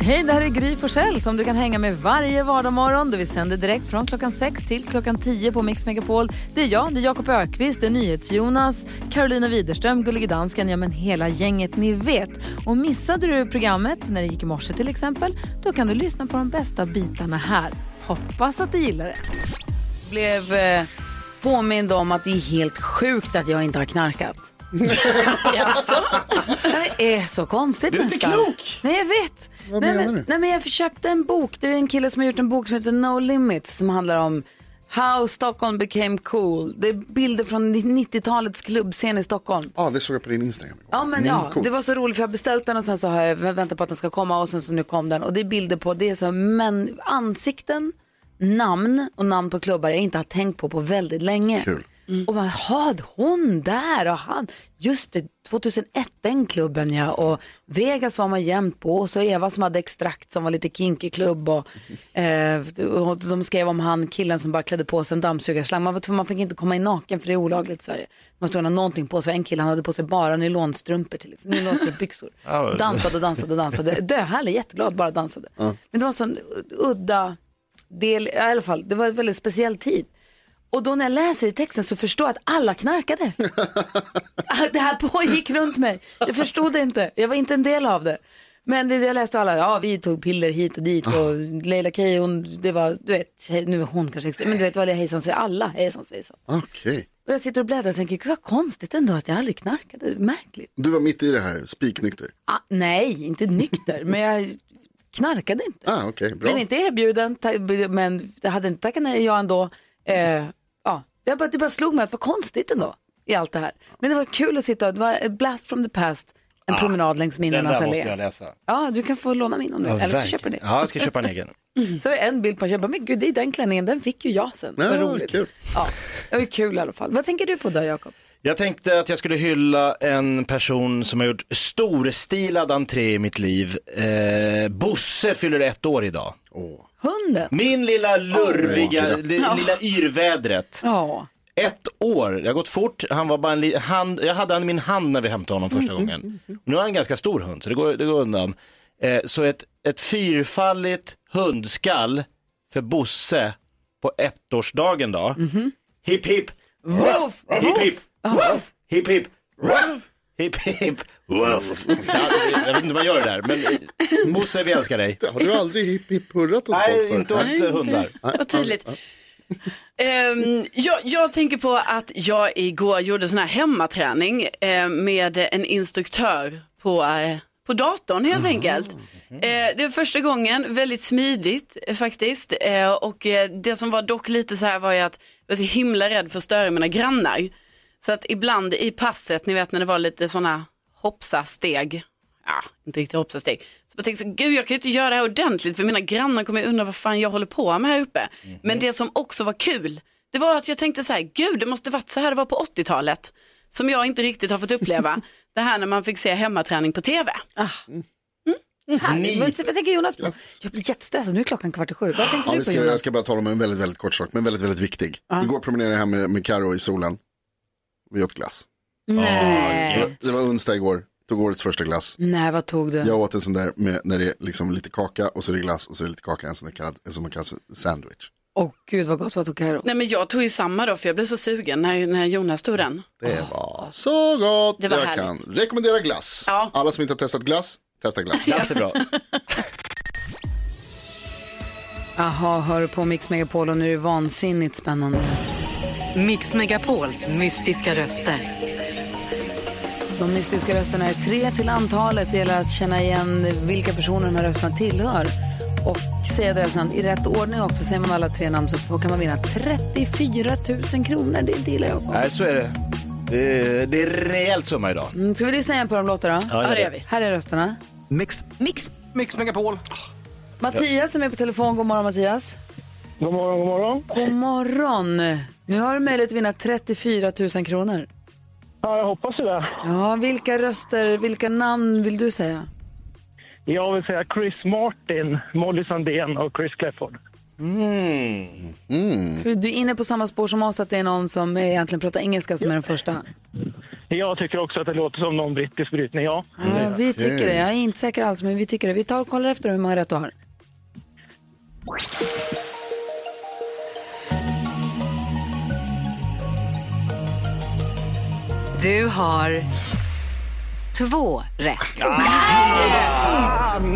Hej, det här är Gry Forssell som du kan hänga med varje vardagsmorgon. Vi sänder direkt från klockan 6 till klockan 10 på Mix Megapol. Det är jag, det är Jakob Ökvist, det är NyhetsJonas, Carolina Widerström, Gullige Dansken, ja men hela gänget ni vet. Och missade du programmet när det gick i morse till exempel, då kan du lyssna på de bästa bitarna här. Hoppas att du gillar det. blev eh, påmind om att det är helt sjukt att jag inte har knarkat. Jaså? Det är så konstigt Du är inte nästan. klok. Nej, jag vet. Vad nej, menar men, du? Nej, men jag köpte en bok. Det är en kille som har gjort en bok som heter No Limits som handlar om How Stockholm became cool. Det är bilder från 90-talets klubbscen i Stockholm. Ja, det såg jag på din Instagram. igår. Ja, men Mm, ja, coolt. det var så roligt för jag har beställt den och sen så har jag väntat på att den ska komma och sen så nu kom den. Och det är bilder på, det är så men, ansikten, namn och namn på klubbar jag inte har tänkt på på väldigt länge. Kul. Och man, hade hon där och han, just det, 2001 den klubben ja och Vegas var man jämt på och så Eva som hade extrakt som var lite kinky klubb och, eh, och de skrev om han killen som bara klädde på sig en dammsugarslang. Man, var tvungen- man fick inte komma in naken för det är olagligt i Sverige. Man var tvungen att ha någonting på sig. En kille han hade på sig bara nylonstrumpor till exempel, nylonstrumpbyxor. Ja. dansade och dansade och dansade. Döhärlig, jätteglad, bara dansade. Men det var en sån udda del, i alla fall, det var en väldigt speciell tid. Och då när jag läser i texten så förstår jag att alla knarkade. Allt det här pågick runt mig. Jag förstod det inte. Jag var inte en del av det. Men det jag läste och alla, ja vi tog piller hit och dit och Leila Kay, hon, det var, du vet, tjej- nu är hon kanske extrem, men du vet, det var hejsan svejsan, alla hejsan svejsan. Okej. Och jag sitter och bläddrar och tänker, gud vad konstigt ändå att jag aldrig knarkade, märkligt. Du var mitt i det här, spiknykter. Ah, nej, inte nykter, men jag knarkade inte. Ah, okej, bra. Blev inte erbjuden, ta- men jag hade inte tackat nej jag ändå. Eh, ja. jag bara, det bara slog mig att det var konstigt ändå i allt det här. Men det var kul att sitta, det var ett blast from the past, en promenad längs Ah, Den minnenas där måste jag allé. läsa. Ja, du kan få låna min om du vill, eller så köper ni. Ja, jag ska köpa en egen. Så är det en bild på en jag bara, men gud det är den klänningen, den fick ju jag sen. Ja, Vad roligt. kul. Ja, det var kul i alla fall. Vad tänker du på då Jakob? Jag tänkte att jag skulle hylla en person som har gjort storstilad entré i mitt liv. Eh, Bosse fyller ett år idag. Åh. Hunden? Min lilla lurviga, Åh. li, lilla yrvädret. Ja. Ett år, det har gått fort. Han var bara en li- hand, jag hade han i min hand när vi hämtade honom första gången. Nu har han en ganska stor hund så det går, det går undan. Eh, så ett, ett fyrfalligt hundskall för Bosse på ettårsdagen då. Hipp hipp, Woof! hipp hipp, Mhm. woof, hipp hipp, woof, hipp hipp, woof. Ja, Jag vet inte hur man gör det där men eh, Bosse vi älskar dig. Har du aldrig hipp hipp hurrat åt folk Nej, förut? inte åt hundar. Vad tydligt. Ehm, jag, jag tänker på att jag igår gjorde sån här hemmaträning eh, med en instruktör på, eh, på datorn helt enkelt. Eh, det var första gången, väldigt smidigt eh, faktiskt. Eh, och eh, det som var dock lite så här var ju att jag var så himla rädd för att störa mina grannar. Så att ibland i passet, ni vet när det var lite sådana hoppsa-steg, ja, inte riktigt hoppsa-steg, så jag tänkte så, gud jag kan ju inte göra det här ordentligt för mina grannar kommer ju undra vad fan jag håller på med här uppe. Men det som också var kul, det var att jag tänkte så här, gud det måste varit så här det var på 80-talet, som jag inte riktigt har fått uppleva, det här när man fick se hemmaträning på tv. Härligt. Men Vad tänker Jonas på? Jag blir jättestressad, nu är klockan kvart i sju. Vad tänkte du Ja, vi på ska, jag Jonas? ska bara tala om en väldigt, väldigt kort sak, men väldigt, väldigt viktig. Igår promenerade jag hem med, med Karo i solen. Vi åt glass. Nej. Det var onsdag igår, tog årets första glass. Nej, vad tog du? Jag åt en sån där med, när det är liksom lite kaka och så är det glass och så är det lite kaka, en sån där kallad, en som man kallar för sandwich. Åh gud vad gott, vad tog Carro? Nej men jag tog ju samma då för jag blev så sugen när, när Jonas tog den. Det var så gott! Det var jag härligt. kan rekommendera glass. Ja. Alla som inte har testat glass, testa glass. Glass är bra. Jaha, hör du på Mix Megapol och nu är det vansinnigt spännande. Mix Megapols mystiska röster. De mystiska rösterna är tre till antalet. Det gäller att känna igen vilka personer de här rösterna tillhör. Och säga deras namn i rätt ordning också. Säger man alla tre namn så får- kan man vinna 34 000 kronor. Det delar jag på. Nej, så är det. Det är, det är rejäl summa idag. Mm, Ska vi lyssna igen på de låtarna? Ja, det gör vi. Här är rösterna. Mix. Mix Mix Megapol. Mattias som är på telefon. God morgon Mattias. God morgon, god morgon. God morgon. Nu har du möjlighet att vinna 34 000 kronor. Ja, jag hoppas det. Där. Ja, vilka röster, vilka namn vill du säga? Jag vill säga Chris Martin, Molly Sandén och Chris Clifford. Mm. Du är inne på samma spår som oss, att det är någon som egentligen pratar engelska som är den första. Jag tycker också att det låter som någon brittisk brytning, ja. Ja, vi tycker det. Jag är inte säker alls, men vi tycker det. Vi tar och kollar efter hur många rätt du har. Du har två rätt. Fan!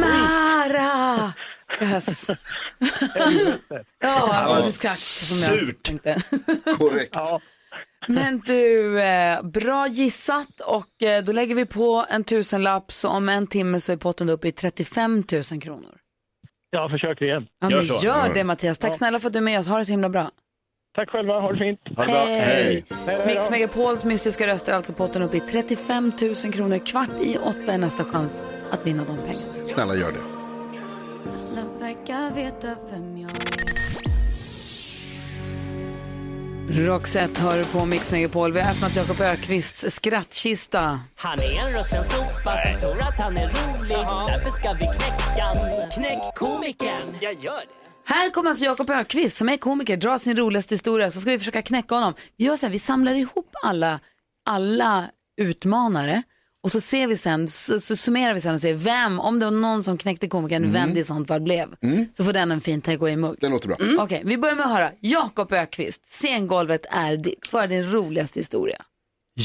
Mara! Yes. ja, alltså, du skrattar som jag surt. tänkte. Korrekt. Ja, Men du, eh, bra gissat och eh, då lägger vi på en tusenlapp så om en timme så är potten uppe i 35 000 kronor. jag försöker igen. Ja, Gör men så. Mm. gör det Mattias. Tack snälla för att du är med oss. Ha det så himla bra. Tack själva, ha det fint. Hej! Hej då. Mix Megapols mystiska röster, alltså potten upp i 35 000 kronor. Kvart i åtta är nästa chans att vinna de pengarna. Snälla gör det. Roxette hör på Mix Megapol. Vi har öppnat Jakob Ökvists skrattkista. Han är en rutten sopa som tror att han är rolig. Därför ska vi knäcka han. Knäck komikern. Jag gör det. Här kommer alltså Jakob Ökvist som är komiker, dra sin roligaste historia så ska vi försöka knäcka honom. Vi gör så här, vi samlar ihop alla, alla utmanare och så ser vi sen, så, så summerar vi sen och ser vem, om det var någon som knäckte komikern, vem det i sånt fall blev. Så får den en fin takeaway-mugg. Det låter bra. Mm. Okej, vi börjar med att höra. Jakob Ökvist, scengolvet är ditt. För din roligaste historia.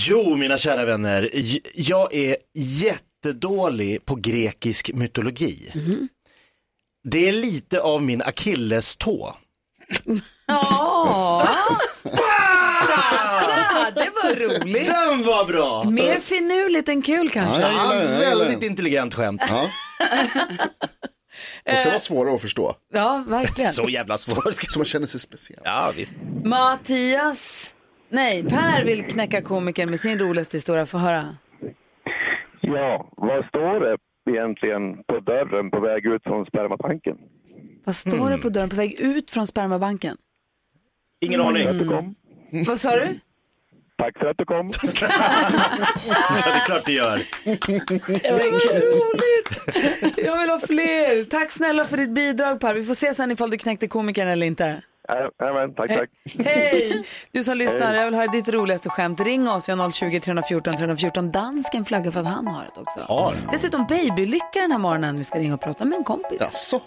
Jo, mina kära vänner, j- jag är jättedålig på grekisk mytologi. Det är lite av min akillestå. Ja! Tassa, det var roligt. Den var bra! Alltså, Mer finurligt än kul kanske. Ja, jag gillar Ja, den, jag gillar Alltså, väldigt den. intelligent skämt. Ja. De ska vara svåra att förstå, Ja, verkligen. Så jävla svårt. så man känner sig speciell. Ja, visst. Mattias, nej, Per vill knäcka komikern med sin roligaste historia. Få höra. Ja, vad står det egentligen på dörren på väg ut från spermatanken? Vad står det på dörren på väg ut från spermabanken? Ingen aning. Du kom. Vad sa du? Tack för att du kom. Ja, det är klart det gör. Jag vill ha fler. Tack snälla för ditt bidrag Per. Vi får se sen ifall du knäckte komikern eller inte. Äh, äh, men, tack, tack. Hej! Du som lyssnar, jag vill höra ditt roligaste skämt. Ring oss, vi har 020 314 314. Dansken flaggar för att han har det också. Har. Dessutom babylycka den här morgonen. Vi ska ringa och prata med en kompis. Jaså?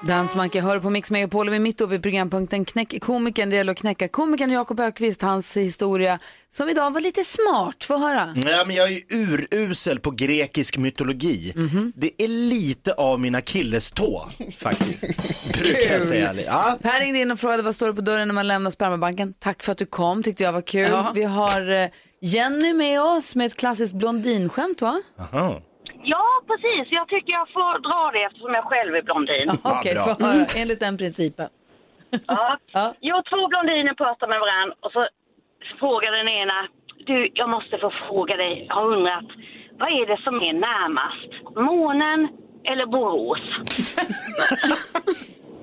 Dansmanke hör på Mix Megapol och vi är mitt uppe i programpunkten Knäck komikern. Det gäller att knäcka komikern Jakob Ökvist, hans historia som idag var lite smart. Få höra. Nej, men jag är ju urusel på grekisk mytologi. Det är lite av min akillestå, faktiskt. Brukar jag säga. Ja. Per ringde in och frågade vad står det på dörren när man lämnar spermabanken. Tack för att du kom, tyckte jag var kul. Ja. Vi har eh, Jenny med oss med ett klassiskt blondinskämt va? Aha. Ja, precis. Jag tycker jag får dra det eftersom jag själv är blondin. Ja, Okej, bra. få höra. Enligt den principen. Ja. Ja. Jag två blondiner pratar med varandra och så frågar den ena, du, jag måste få fråga dig, jag har undrat, vad är det som är närmast? Månen eller Borås?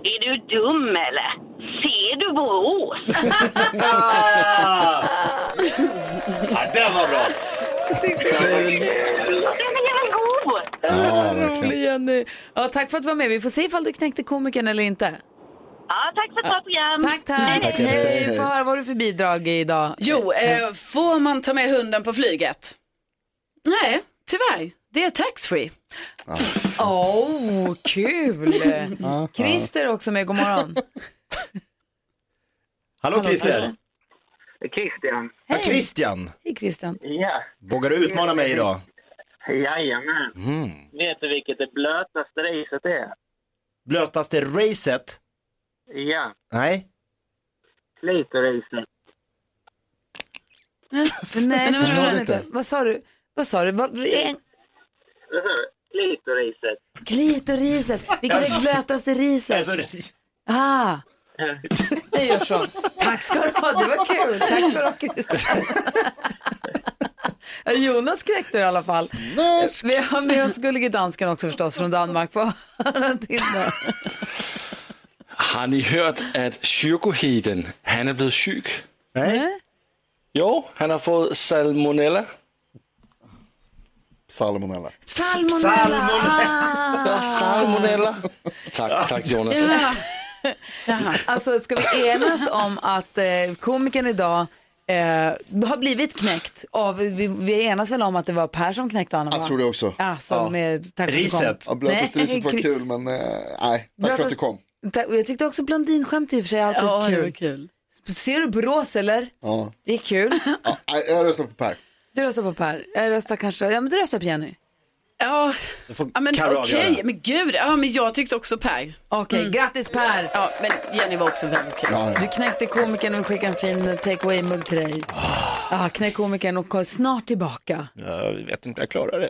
är du dum eller? Ser du Borås? Ah! Ja, den var bra. Ja, men jag är väl god! Ja, verkligen. Rolig Jenny. Ja, tack för att du var med. Vi får se ifall du knäckte komikern eller inte. Ja, tack för ett bra program. Tack, Mm. tack. Hej, få höra vad du för bidrag idag. Jo, eh, får man ta med hunden på flyget? Nej, tyvärr. Det är taxfree. Åh, oh, kul! Christer är också med, god morgon. Hallå Christer. Christian. Ja, Christian. Hej Christian. Ja, Vågar du utmana mig idag? jajamän. Vet du vilket det blötaste riset är? Blötaste racet? Ja, Nej. klitoriset. Nej, jag förstår förstår inte. Vad sa du? Vad sa du? Vad, en, Klitoriset. klitoriset. Vilket är det blötaste riset? Alltså, Ah. Jag gör så. Tack ska du ha, det var kul. Tack ska du ha Christer. Ja, Jonas knäckte det i alla fall. Vi har med oss gullige dansken också förstås från Danmark. Får höra till då. Har ni hørt, at psykoheden, han er blevet syg? nej. Jo, han har fået salmonella. Salmonella. Salmonella. Salmon. Ja, salmonella. Tak, tak Jonas. Alltså ska vi enas om att eh, komikern idag eh, har blivit knäckt? Av, vi, vi enas väl om att det var Per som knäckte honom? Jag va? tror det också. Ja, som med, tack för att du kom. Ja, blötaste riset var kul, men eh, nej, tack för att du kom. Tack, och jag tyckte också blondinskämt i och för sig alltid Ja, det kul. var kul. Ser du brås eller? Ja. Det är kul. Ja, nej, jag röstar på Per. Du röstar på Per. Jag röstar kanske, ja men du röstar på Jenny. Ja, ja men Karo okej, avgöra. men gud, ja, men jag tyckte också Per. Okej, Mm. grattis Per! Ja, men Jenny var också väldigt kul. Du knäckte komikern och vi skickar en fin take away-mugg till dig. Ah, knäck komikern och kom snart tillbaka. Jag vet inte, jag klarar det.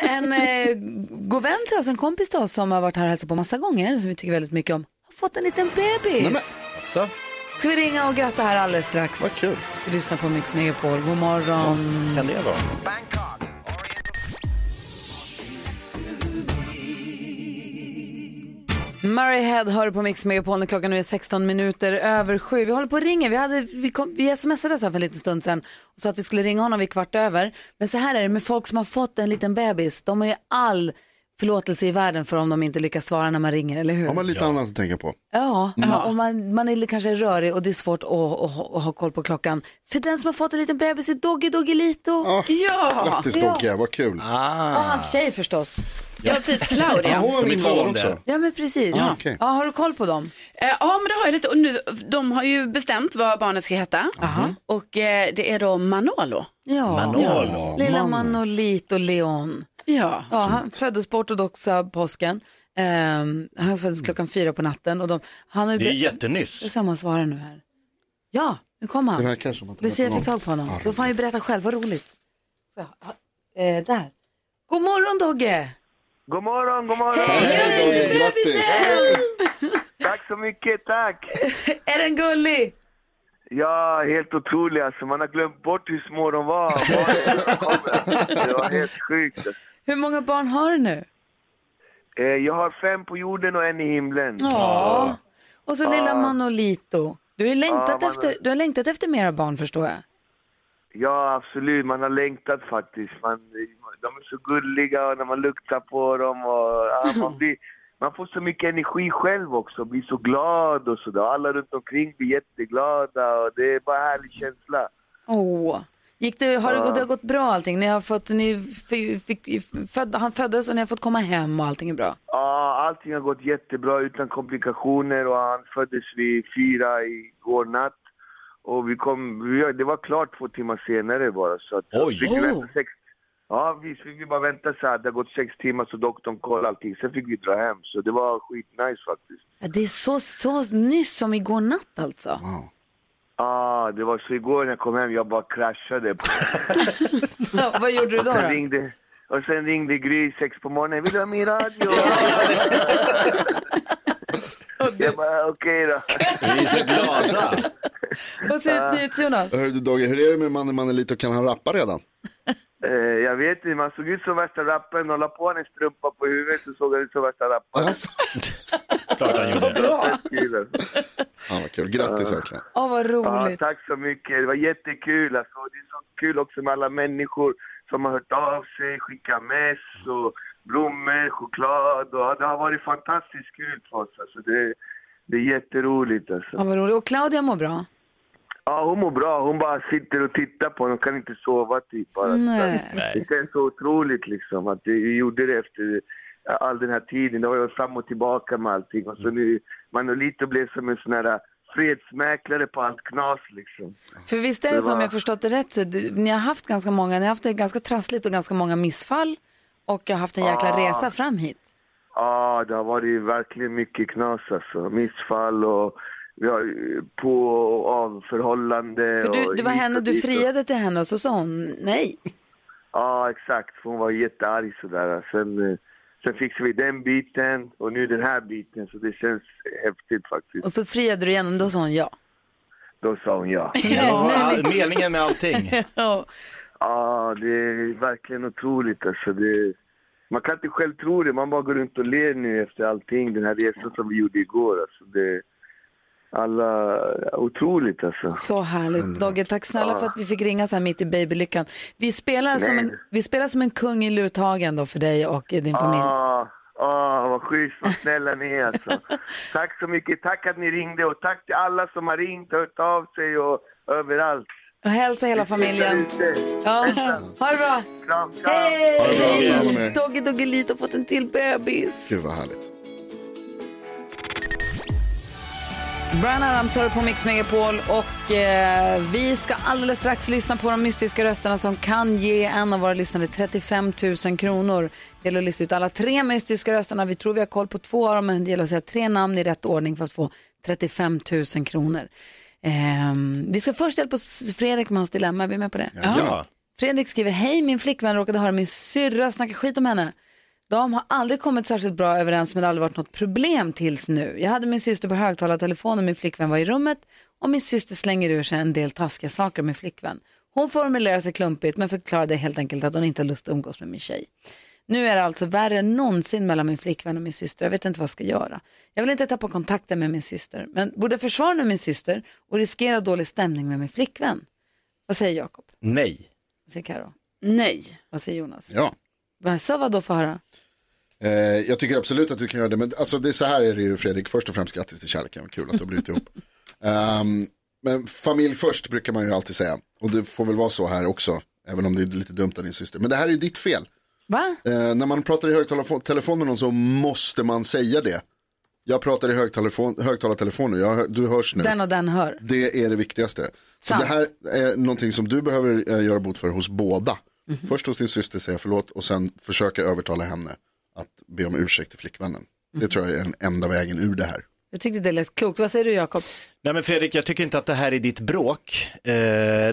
En eh, god vän till oss, en kompis till oss som har varit här och hälsat på massa gånger, som vi tycker väldigt mycket om, har fått en liten bebis. Så. Ska vi ringa och gratta här alldeles strax? Vad kul. Vi lyssnar på Mix Megapol. God morgon. Kan det vara? Murray Head hör du på Mix Megapol när klockan nu är 16 minuter över sju. Vi håller på och ringer. Vi, hade, vi, kom, vi smsade så här för en liten stund sedan och sa att vi skulle ringa honom vid kvart över. Men så här är det med folk som har fått en liten bebis. De har ju all förlåtelse i världen för om de inte lyckas svara när man ringer, eller hur? Har man lite annat att tänka på? Ja, Mm. och man, man är kanske rörig och det är svårt att, att, att ha koll på klockan. För den som har fått en liten bebis är Doggy Doggelito. ja! Grattis Dogge, vad kul. Och hans tjej förstås. Ja, precis, Claudia. Ja, hon var De är min två vän om också. det. Ja, men precis. Ja, okej. ja, har du koll på dem? Eh, Ja, men det har jag lite. Och nu, de har ju bestämt vad barnet ska heta. Och eh, det är då Manolo. Ja. Manolo. Lilla Manolo. Manolito Leon. Ja. ja han föddes på ortodoxa påsken. Ehm, han föddes klockan fyra på natten. Och de, han har ju Det är ber- jättenyss. Det är samma svar nu här. Ja, nu kom Det han. verkar som att Lucia fick tag på honom. Då får han ju berätta själv, vad roligt. Så, ja, eh, där. God morgon Dogge! God morgon, god morgon! Hej! Tack så mycket, tack! Är den gullig? Ja, helt otrolig alltså. Man har glömt bort hur små de var. Barnen kommer. Det var helt sjukt. Hur många barn har du nu? Eh, Jag har fem på jorden och en i himlen. Ja. Och så lilla Ja. Manolito. Du har, ju Ja, längtat Manolo. efter, du har längtat efter mera barn förstår jag. Ja, absolut. Man har längtat faktiskt. Man, de är så gulliga och när man luktar på dem. Och, ja, man, blir, man får så mycket energi själv också. Blir så glad och sådär. Alla runt omkring blir jätteglada och det är bara en härlig känsla. Åh. Gick det, har det, Ja. det har gått bra allting? Ni har fått, ni fick, fick, född, han föddes och ni har fått komma hem och allting är bra? Ja, allting har gått jättebra utan komplikationer och han föddes vid fyra igår natt. Och vi kom, vi- det var klart två timmar senare bara. Så att Oj. Vi fick vänta Oh. sex, ja, vi fick vi bara vänta så här. Det har gått sex timmar så doktorn kollade allting. Sen fick vi dra hem. Så det var skitnice faktiskt. Ja, det är så, så nyss som igår natt alltså. Ja, ah, det var så igår när jag kom hem, jag bara kraschade. Ja, vad gjorde du då? Och sen då? ringde, och sen ringde Gry sex på morgonen. Vill du ha min radio? jag bara, okej då. Vi är så glada. Vad säger NyhetsJonas? Hörru du Dogge, hur är det med mannen Manelito, kan han rappa redan? Eh, jag vet inte, man såg ut som värsta rapparen. De la på en strumpa på huvudet så såg han ut som värsta rapparen. Klart han gjorde. Bra! Ja, vad kul, grattis verkligen. Åh, vad Ja, roligt. tack så mycket. Det var jättekul. Alltså, det är så kul också med alla människor som har hört av sig, skickat mess och blommor, choklad. Och, ja, det har varit fantastiskt kul för oss. Alltså, det, det är jätteroligt. Alltså. Ja, vad roligt. Och Claudia mår bra? Ja, hon mår bra. Hon bara sitter och tittar på honom. Hon kan inte sova typ. Bara. Nej. Det känns så otroligt liksom att vi gjorde det efter all den här tiden. Det var ju fram och tillbaka med allting. Och så nu, Manolito blev som en sån här fredsmäklare på allt knas liksom. För visst är det Det som var- jag förstått det rätt så du, ni har haft ganska många, ni har haft det ganska trassligt och ganska många missfall och jag har haft en jäkla Ah. resa fram hit. Ja, det har varit verkligen mycket knas alltså. Missfall och ja, på och av förhållande. För du, och det var hit henne, och du dit och- friade till henne och så sa hon nej. Ja, exakt. Hon var jättearg sådär. Sen, eh, sen fixade vi den biten och nu den här biten. Så det känns häftigt faktiskt. Och så friade du igen och då sa hon ja. Då sa hon ja. Ja, all, meningen med allting. Ja. Ja, det är verkligen otroligt alltså. Det, man kan inte själv tro det. Man bara går runt och ler nu efter allting. Den här resan som vi gjorde igår alltså. Det, alla, otroligt alltså. Så härligt. Dogge, tack snälla Ja. för att vi fick ringa så här mitt i babylyckan. Vi spelar, som Nej. en, vi spelar som en kung i luthagen då för dig och eh, din familj. Ja, ah, Åh, vad schysst, vad snälla ni är alltså. Tack så mycket, tack att ni ringde och tack till alla som har ringt och hört av sig och överallt. Och hälsa hela familjen. Ja. Ha det bra. Kram, kram. Ha det bra, kram och Hej! med. Dogge Doggelito har fått en till bebis. Gud vad härligt. Brian Adams hör på Mix Megapol och eh, vi ska alldeles strax lyssna på de mystiska rösterna som kan ge en av våra lyssnare 35 000 kronor. Det gäller att lista ut alla tre mystiska rösterna. Vi tror vi har koll på två av dem men det gäller att säga tre namn i rätt ordning för att få 35 000 kronor. Ehm, vi ska först hjälpa oss- Fredrik med hans dilemma, är vi med på det? Ja. Fredrik skriver, hej min flickvän råkade höra min syrra snacka skit om henne. De har aldrig kommit särskilt bra överens men det har aldrig varit något problem tills nu. Jag hade min syster på högtalartelefon och min flickvän var i rummet och min syster slänger ur sig en del taskiga saker om min flickvän. Hon formulerar sig klumpigt men förklarade helt enkelt att hon inte har lust att umgås med min tjej. Nu är det alltså värre än någonsin mellan min flickvän och min syster. Jag vet inte vad jag ska göra. Jag vill inte tappa kontakten med min syster men borde jag försvara min syster och riskera dålig stämning med min flickvän? Vad säger Jakob? Nej. Vad säger Karo? Nej. Vad säger Jonas? Ja. Vad sa vad då för höra? Eh, jag tycker absolut att du kan göra det, men alltså, det, så här är det ju Fredrik, först och främst grattis till kärleken, kul att du har brutit ihop. Ehm, men familj först brukar man ju alltid säga, och det får väl vara så här också, även om det är lite dumt av din syster. Men det här är ju ditt fel. Va? Eh, när man pratar i högtalartelefon med någon så måste man säga det. Jag pratar i högtalartelefon högtalartelefon nu, jag, hör- du hörs nu. Den och den hör. Det är det viktigaste. Så Sant. det här är någonting som du behöver eh, göra bot för hos båda. Först hos din syster säga förlåt och sen försöka övertala henne att be om ursäkt till flickvännen. Det tror jag är den enda vägen ur det här. Jag tyckte det lät klokt. Vad säger du Jakob? Nej men Fredrik, jag tycker inte att det här är ditt bråk. Eh,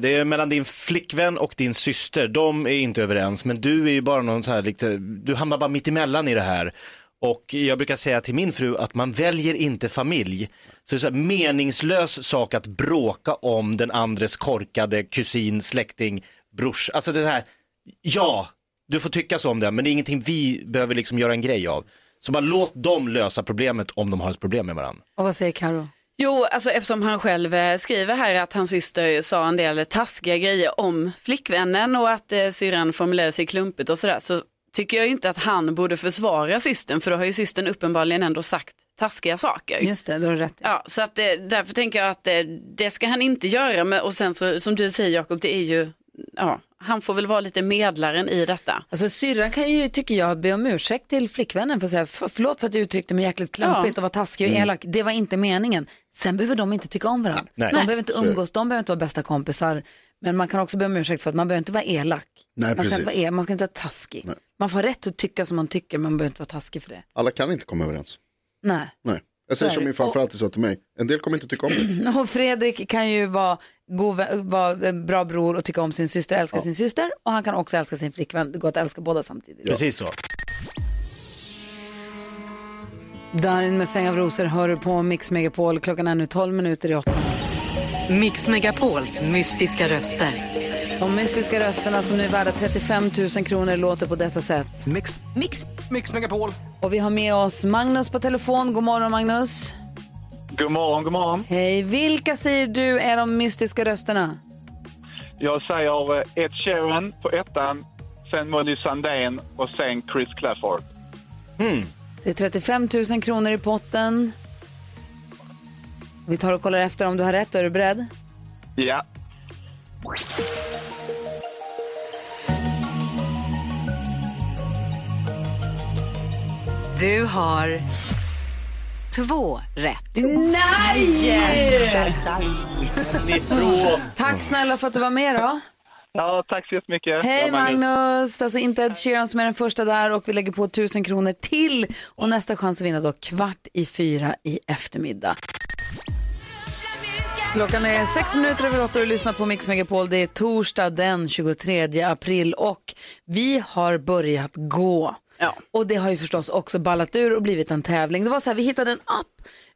det är mellan din flickvän och din syster, de är inte överens, men du är ju bara någon så här, lite, du hamnar bara mitt emellan i det här. Och jag brukar säga till min fru att man väljer inte familj. Så det är så här, meningslös sak att bråka om den andres korkade kusin, släkting, brors. Alltså det här, ja, du får tycka så om det, men det är ingenting vi behöver liksom göra en grej av. Så bara låt dem lösa problemet om de har ett problem med varandra. Och vad säger Karo? Jo, alltså eftersom han själv eh, skriver här att hans syster sa en del taskiga grejer om flickvännen och att eh, syrran formulerade sig klumpigt och sådär så tycker jag ju inte att han borde försvara systern för då har ju systern uppenbarligen ändå sagt taskiga saker. Just det, du har rätt. Ja, så att, eh, därför tänker jag att eh, det ska han inte göra men, och sen så, som du säger Jakob, det är ju, ja, han får väl vara lite medlaren i detta. Alltså syrran kan ju, tycker jag, be om ursäkt till flickvännen för att säga "För- förlåt för att du uttryckte mig jäkligt klumpigt Ja. och var taskig och Mm. elak. Det var inte meningen. Sen behöver de inte tycka om varandra. Nej. De Nej. behöver inte Så är det. umgås, de behöver inte vara bästa kompisar. Men man kan också be om ursäkt för att man behöver inte vara elak. man, Nej, ska inte precis. vara el, man ska inte vara taskig. Man får ha rätt att tycka som man tycker, men man behöver inte vara taskig för det. Alla kan inte komma överens. Nej. Nej. Jag Så är säger som det. min farfar alltid sa till mig, en del kommer inte tycka om det. Och Fredrik kan ju vara, god, vä- vara en bra bror och tycka om sin syster, älska sin syster. Och han kan också älska sin flickvän. Det går att älska båda samtidigt. Precis så. Darin med Säng av rosor hör du på Mix Megapol. Klockan är nu 12 minuter i åtta. Mix Megapols mystiska röster. De mystiska rösterna som nu är värda 35 000 kronor låter på detta sätt. Mix. Mix. Mix Megapol. Och vi har med oss Magnus på telefon. God morgon Magnus. God morgon, god morgon. Hej, vilka säger du är de mystiska rösterna? Jag säger eh, Ed Sheeran på ettan, sen Molly Sandén och sen Chris Clafford. Det är 35 000 kronor i potten. Vi tar och kollar efter om du har rätt. Är du beredd? Ja. Du har två rätt. Nej! Ifrån. Tack snälla för att du var med då. Ja, tack så jättemycket. Hej Ja, Magnus! Alltså inte Ed Sheeran som är den första där och vi lägger på 1000 kronor till och nästa chans att vinna då kvart i fyra i eftermiddag. Klockan är sex minuter över åtta och du lyssnar på Mix Megapol. Det är torsdag den 23 april och vi har börjat gå. Och det har ju förstås också ballat ur och blivit en tävling. Det var så här, vi hittade en app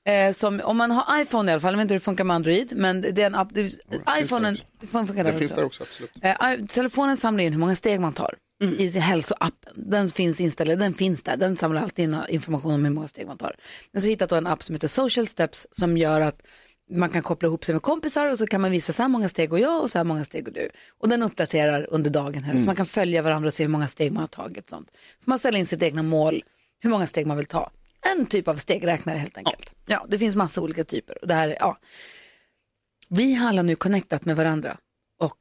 eh, som, om man har iPhone i alla fall, jag vet inte hur det funkar med Android, men det är en app, det, iPhonen funkar där Det finns där också, absolut. Eh, i- telefonen samlar in hur många steg man tar i hälsoappen. Den finns inställd, den finns där. Den samlar alltid in information om hur många steg man tar. Men så hittat då en app som heter Social Steps som gör att man kan koppla ihop sig med kompisar och så kan man visa så här många steg och jag och så här många steg och du. Och den uppdaterar under dagen här så man kan följa varandra och se hur många steg man har tagit. och Sånt. Så man ställer in sitt egna mål hur många steg man vill ta. En typ av stegräknare helt enkelt. Ja, det finns massa olika typer. Och det här, är- ja. Vi har alla nu connectat med varandra och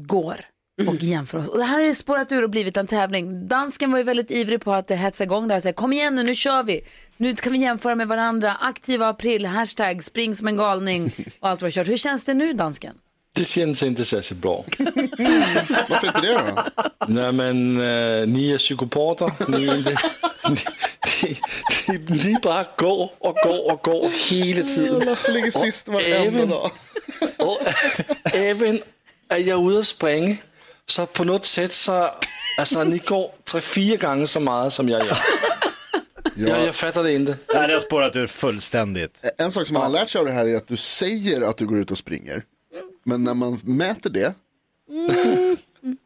går och jämför oss. Och det här är spårat ur och blivit en tävling. Dansken var ju väldigt ivrig på att hetsa igång det här. Så här, Kom igen nu, nu kör vi. Nu kan vi jämföra med varandra. Aktiva april, hashtag, spring som en galning och allt vad jag kört. Hur känns det nu dansken? Det känns inte särskilt bra. Varför inte det då? Nej men eh, ni är psykopater. Ni, är inte, ni, ni, ni bara går och går och går hela tiden. Lasse ligger sist varenda dag. Och även är jag ute och springer så på något sätt så, alltså ni går tre, fyra gånger så mycket som jag gör. Jag, jag fattar det inte. Nej, det har spårat ur fullständigt. En sak som man har lärt sig av det här är att du säger att du går ut och springer. Men när man mäter det,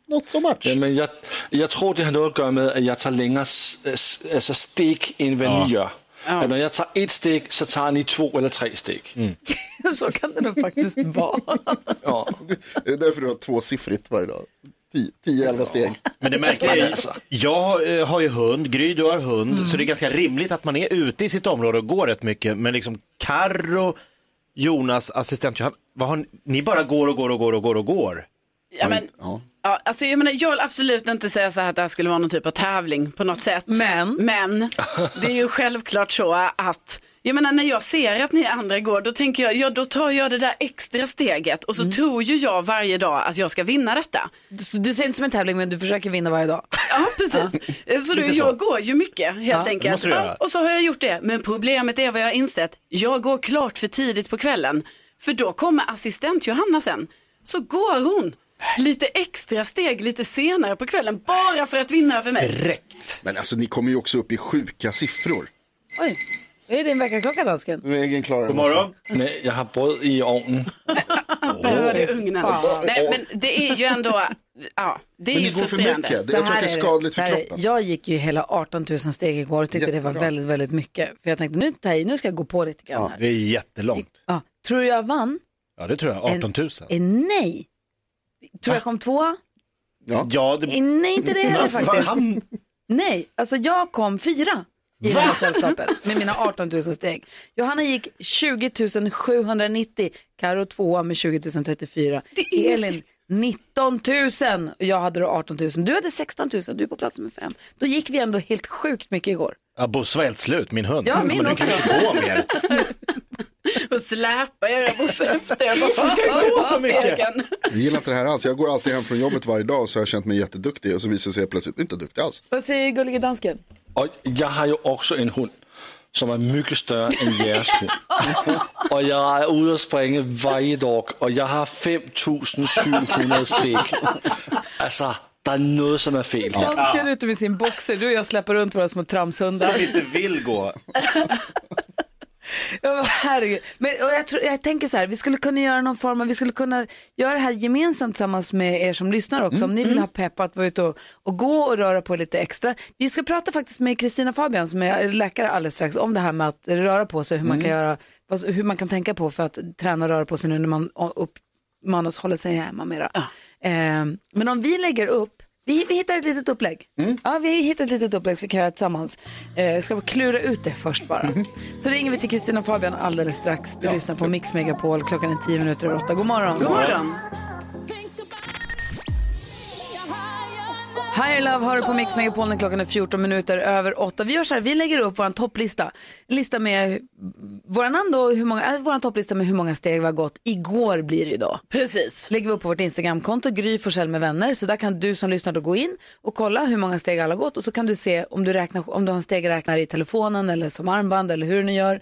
Not so much. Jamen, Øh, jeg, jeg tror, det har noget at gøre med, at jeg tager længere s- s- altså stik, end hvad ni gør. At når jeg tager et stik, så tager ni to eller tre stik. Så kan det nog faktiskt vara. Ja. Det är därför du har tvåsiffrigt varje dag. 10-11 steg. Men det märker jag, ju- Alltså. Mm. jag eh, har ju hund, Gry du har hund, så det är ganska rimligt att man är ute i sitt område och går rätt mycket. Men liksom Karro, Jonas, assistent Johan, vad har ni, ni bara går och går och går och går och går. Ja, men, ja, alltså, jag, menar, jag vill absolut inte säga så här att det här skulle vara någon typ av tävling på något sätt. Men, men det är ju självklart så att jag menar, när jag ser att ni andra går, då tänker jag, ja då tar jag det där extra steget och så tror ju jag varje dag att jag ska vinna detta. Du, du ser inte som en tävling men du försöker vinna varje dag. Ja, precis. Så då, Lite jag så. går ju mycket helt Ja, det enkelt. måste du göra. och så har jag gjort det. Men problemet är vad jag har insett. Jag går klart för tidigt på kvällen. För då kommer assistent Johanna sen. Så går hon lite extra steg lite senare på kvällen. Bara för att vinna över mig. Men alltså ni kommer ju också upp i sjuka siffror. Oj, det är din väckarklocka dansken. Nu är egen klar. God morgon. Nej, jag har bröd i ovnen. Behöver det i ugnen. Fan. Nej, men det är ju ändå, ja, det är Men ju det går för frustrerande. mycket. Det- Så jag tror här att det är är skadligt Så för här är- kroppen. Jag gick ju hela 18 000 steg igår och tyckte det var Jättebra. väldigt, väldigt mycket. För jag tänkte nu, tar jag i, nu ska jag gå på lite grann här. Det är jättelångt. Ja. Tror du jag vann? Ja, det tror jag. 18 000. Eh, nej. Tror jag kom tvåa? Ja, det... Eh, nej, inte det heller Vad fan? faktiskt. Nej, alltså jag kom fyra i det här sällskapet med mina 18 000 steg. Johanna gick 20 790, Karo tvåa med 20 034, Elin 19 000 och jag hade då 18 000. Du hade 16 000, du är på plats nummer fem. Då gick vi ändå helt sjukt mycket igår. Ja, Bosse var helt slut, min hund. Ja, min men nu kan också. vi gå mer. Och släpa er och så efter. Jag bara, Varför ska jag gå så mycket? stegen. Jag gillar inte det här alls. Jag går alltid hem från jobbet varje dag så har jag känt mig jätteduktig och så visar det sig plötsligt inte duktig alls. Vad säger gullige dansken? Og jeg har jo også en hund, som er mycket større end jeres hund. Og jeg er ude og springe varje dag, og jeg har 5.700 stik. Altså, der er noget, som er fel. Dansken ute med sin boxer, du och jag släpper runt våra små tramshundar. Som inte vill gå. Ja, men herregud. Men, och jag, tror, jag tänker så här, vi skulle kunna göra någon form av, vi skulle kunna göra det här gemensamt tillsammans med er som lyssnar också. Om ni vill ha pepp att vara ute och, och gå och röra på lite extra. Vi ska prata faktiskt med Kristina Fabian som är läkare alldeles strax om det här med att röra på sig, hur man kan göra, vad, hur man kan tänka på för att träna och röra på sig nu när man o- uppmanas hålla sig hemma mera. Ehm, men om vi lägger upp vi, vi hittar ett litet upplägg. Mm. Ja, vi hittar ett litet upplägg som vi kan göra tillsammans. Eh, ska bara klura ut det först bara. Mm. Så ringer vi till Kristina och Fabian alldeles strax. Du lyssnar på Mix Megapol. Klockan är tio minuter över åtta. God morgon. God morgon. Higher Love hör du på Mix Megapol när klockan är 14 minuter över åtta. Vi gör så här, vi lägger upp vår topplista. En lista med våra namn då, hur många, äh, vår topplista med hur många steg vi har gått. Igår blir det ju då. Precis. Lägger vi upp på vårt Instagramkonto, Gry Forssell med vänner. Så där kan du som lyssnar då gå in och kolla hur många steg alla har gått. Och så kan du se om du, räknar, om du har en stegräknare i telefonen eller som armband eller hur du nu gör.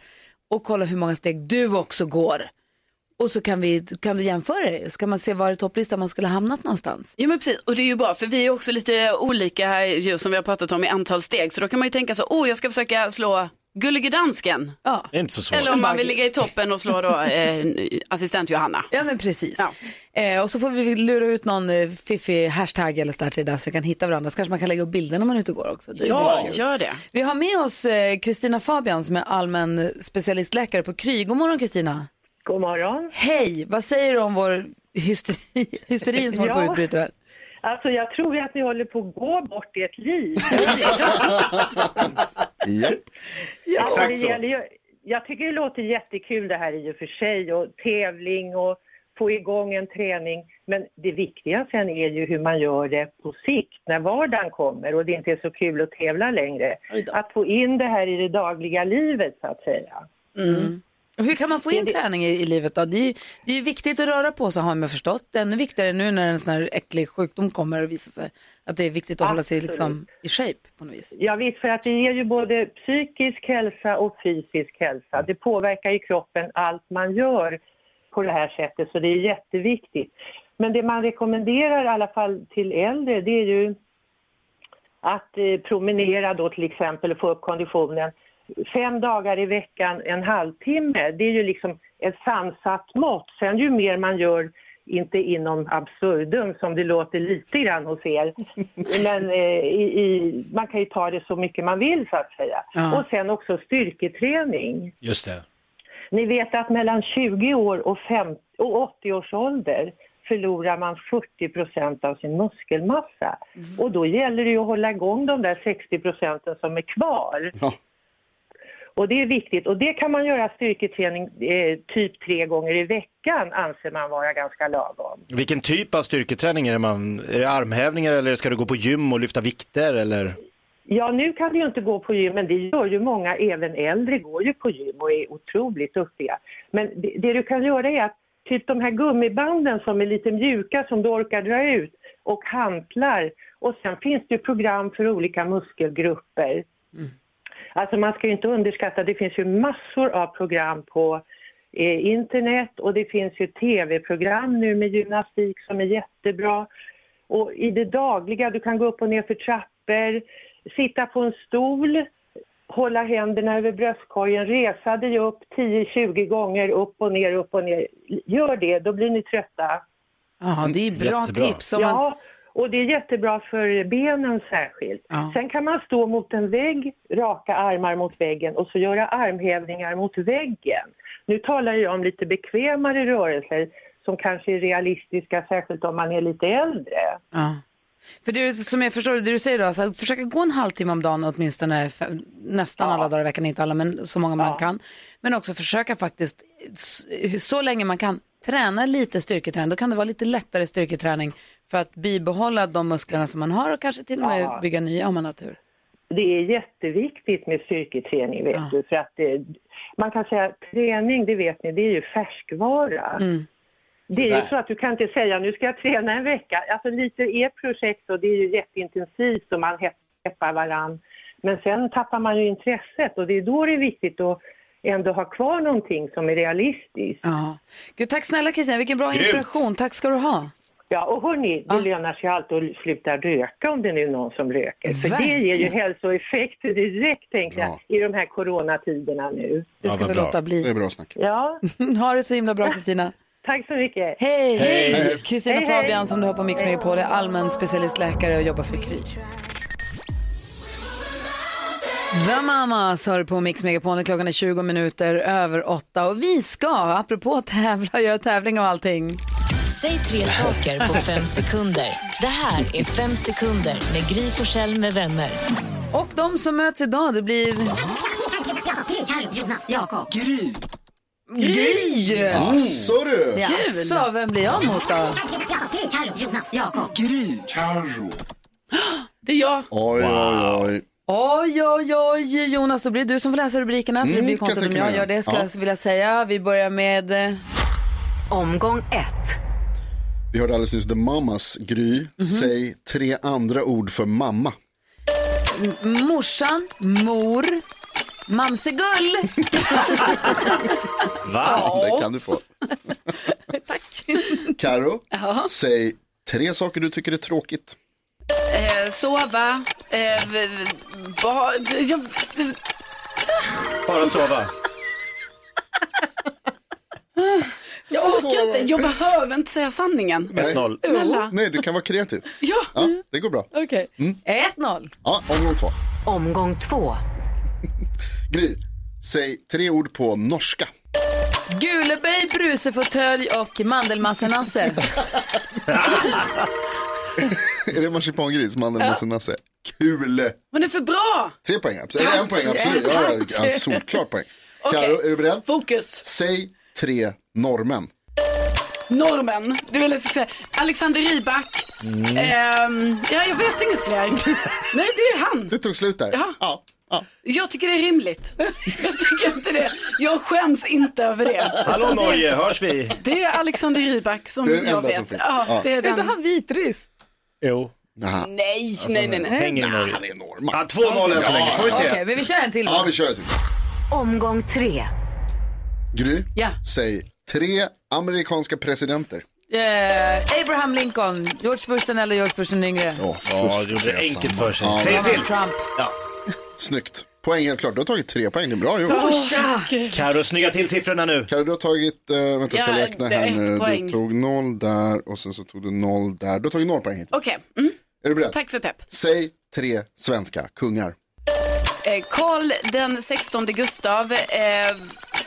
Och kolla hur många steg du också går. Och så kan, vi, kan du jämföra det. Så kan man se var i topplistan man skulle ha hamnat någonstans. Ja men precis, och det är ju bra för vi är också lite olika här ju som vi har pratat om i antal steg så då kan man ju tänka så, oh jag ska försöka slå gullige dansken. Ja. Det är inte så svårt. Eller om man vill ligga i toppen och slå då eh, assistent Johanna. Ja men precis. Eh, och så får vi lura ut någon eh, fiffig hashtag eller så där till det där så vi kan hitta varandra. Så kanske man kan lägga upp bilder när man är ute och går också. Det är Ja, väldigt kul. gör det. Vi har med oss eh, Kristina Fabian som är allmän specialistläkare på Kry. God morgon Kristina. God morgon. Hej, vad säger du om vår hysteri, hysterin som håller på att Ja. utbryta här? Alltså jag tror ju att ni håller på att gå bort i ett liv. Japp. Ja, och Exakt det så. gäller ju- jag tycker det låter jättekul det här i och för sig och tävling och få igång en träning. Men det viktiga sen är ju hur man gör det på sikt när vardagen kommer och det inte är så kul att tävla längre. Att få in det här i det dagliga livet så att säga. Mm. Och Hur kan man få in träning i, i livet då? Det är, ju, det är ju viktigt att röra på sig har man förstått. Det är ännu viktigare nu när en sån här äcklig sjukdom kommer och visar sig. Att det är viktigt att hålla sig liksom i shape på något vis. Ja visst, för att det ger ju både psykisk hälsa och fysisk hälsa. Det påverkar ju kroppen allt man gör på det här sättet så det är jätteviktigt. Men det man rekommenderar i alla fall till äldre det är ju att eh, promenera då till exempel och få upp konditionen fem dagar i veckan, en halvtimme. Det är ju liksom ett sansat mått. Sen ju mer man gör, inte inom absurdum som det låter lite grann hos er, men eh, i, i, man kan ju ta det så mycket man vill så att säga. Ja. Och sen också styrketräning. Just det. Ni vet att mellan 20 år och, 50, och 80 års ålder förlorar man 40 procent av sin muskelmassa. Och då gäller det ju att hålla igång de där 60 procenten som är kvar. Och det är viktigt. Och det kan man göra styrketräning eh, typ tre gånger i veckan anser man vara ganska lagom. Vilken typ av styrketräning är det man, är det armhävningar eller ska du gå på gym och lyfta vikter eller? Ja, nu kan vi ju inte gå på gym, men det gör ju många, även äldre går ju på gym och är otroligt duktiga. Men det, det du kan göra är att typ de här gummibanden som är lite mjuka som du orkar dra ut och hantlar och sen finns det ju program för olika muskelgrupper. Alltså man ska ju inte underskatta, det finns ju massor av program på eh, internet och det finns ju tv-program nu med gymnastik som är jättebra. Och i det dagliga, du kan gå upp och ner för trappor, sitta på en stol, hålla händerna över bröstkorgen, resa dig upp 10-20 gånger upp och ner, upp och ner. Gör det, då blir ni trötta. Ja, det är bra tips. Om man... Ja, och det är jättebra för benen särskilt. Sen kan man stå mot en vägg, raka armar mot väggen och så göra armhävningar mot väggen. Nu talar jag om lite bekvämare rörelser som kanske är realistiska, särskilt om man är lite äldre. Ja. För det är, som jag förstår det du säger då, alltså, att försöka gå en halvtimme om dagen åtminstone f- nästan alla dagar i veckan, inte alla men så många man kan. Men också försöka faktiskt s- så länge man kan träna lite styrketräning, då kan det vara lite lättare styrketräning för att bibehålla de musklerna som man har och kanske till och med Ja. bygga nya om man har tur. Det är jätteviktigt med styrketräning, vet du. För att eh, man kan säga att träning, det vet ni, det är ju färskvara. Det är ju Tyvärr. så att du kan inte säga nu ska jag träna en vecka. Alltså lite ert projekt och det är ju jätteintensivt och man peppar varann. Men sen tappar man ju intresset och det är då det är viktigt att ändå ha kvar någonting som är realistiskt. Ja. Gud, tack snälla Kristina, vilken bra Grymt. inspiration, tack ska du ha. Ja, och hörni, det lönar sig alltid att sluta röka om det nu är någon som röker. För det ger ju Verkligen. hälsoeffekter direkt, tänker jag, i de här coronatiderna nu. Det ska vi låta bli. bra snack. Ja. ha det så himla bra Kristina. Tack så mycket. Hej! Hej. Kristina Hej, hej. Fabian som du har på Mix Megapol är allmän specialistläkare och jobbar för Kry. The Mamas hör på Mix Megapol. Klockan är 20 minuter över åtta och vi ska, apropå tävla, göra tävling och allting. Säg tre saker på fem sekunder. Det här är Fem sekunder med Gry Forssell med vänner. Och de som möts idag, det blir... Jonas, Jakob. Gry. Gry! Jaså, du. Kul. Jaså, vem blir jag mot då? Jonas, Jakob. Gry. Carro. Det är jag. Oj, oj, oj. Oj, oj, oj, Jonas, då blir det du som får läsa rubrikerna. För det Mm, blir kan konstigt jag om tänka jag gör mig. det, ska Ja. jag vilja säga. Vi börjar med... eh, Omgång ett. Vi hörde alldeles nyss The Mamas Gry. Säg tre andra ord för mamma. M- Morsan, mor, mamsegull. Va? Det kan du få. Tack. Karo, Ja. säg tre saker du tycker är tråkigt. Eh, sova, eh, v- v- bad, jag, Bara sova. jag orkar inte, jag behöver inte säga sanningen. Snälla. Nej, du kan vara kreativ. Ja. det går bra. Okej. Mm. 1-0. Ja, omgång två. Omgång två. Gry, säg tre ord på norska. Guleböj, brusefåtölj och mandelmassenasse. är det marsipangris, mandeln med sin nasse? Kul! Hon är för bra! Tre poäng, absolut. Eller en Tack. poäng, absolut. Ja, Tack. ja, solklar poäng. Okej. Karo, är du beredd? Fokus. Säg tre norrmän. Normen, det vill jag säga. Alexander Rybak. Mm. Ehm, ja, jag vet inget fler. Nej, det är han. Det tog slut där. Ja. Ja, Jag tycker det är rimligt. Jag tycker inte det. Jag skäms inte över det. Hallå Utan det- Norge, hörs vi? Det är Alexander Rybak som Det är den jag enda vet. som finns. ja, Ja. det är Är den. inte han vitryss? Jo. Nej, nej, nej, nej. Hänger i Nej, Norge. han är norrman. Ja, 2-0 än så länge, får vi se. Okej, men vi kör en till. ja vi kör. en sista. Omgång tre. Gry, Ja. säg tre amerikanska presidenter. Eh, Abraham Lincoln, George Bush den eller George Bush den yngre. Ja, Ja, du gjorde det enkelt för sig. Säg Donald till. Trump. Ja. Snyggt. Poäng helt klart. Du har tagit tre poäng. Det är bra gjort. Åh, tja! Karo, snygga till siffrorna nu. Karo, du har tagit, eh, vänta jag ska Ja, räkna det är här ett nu. poäng. Du tog noll där och sen så tog du noll där. Du har tagit noll poäng hittills. Okej, mm. Är du beredd? tack för pepp. Säg tre svenska kungar. Eh, Karl den 16 Gustav, eh,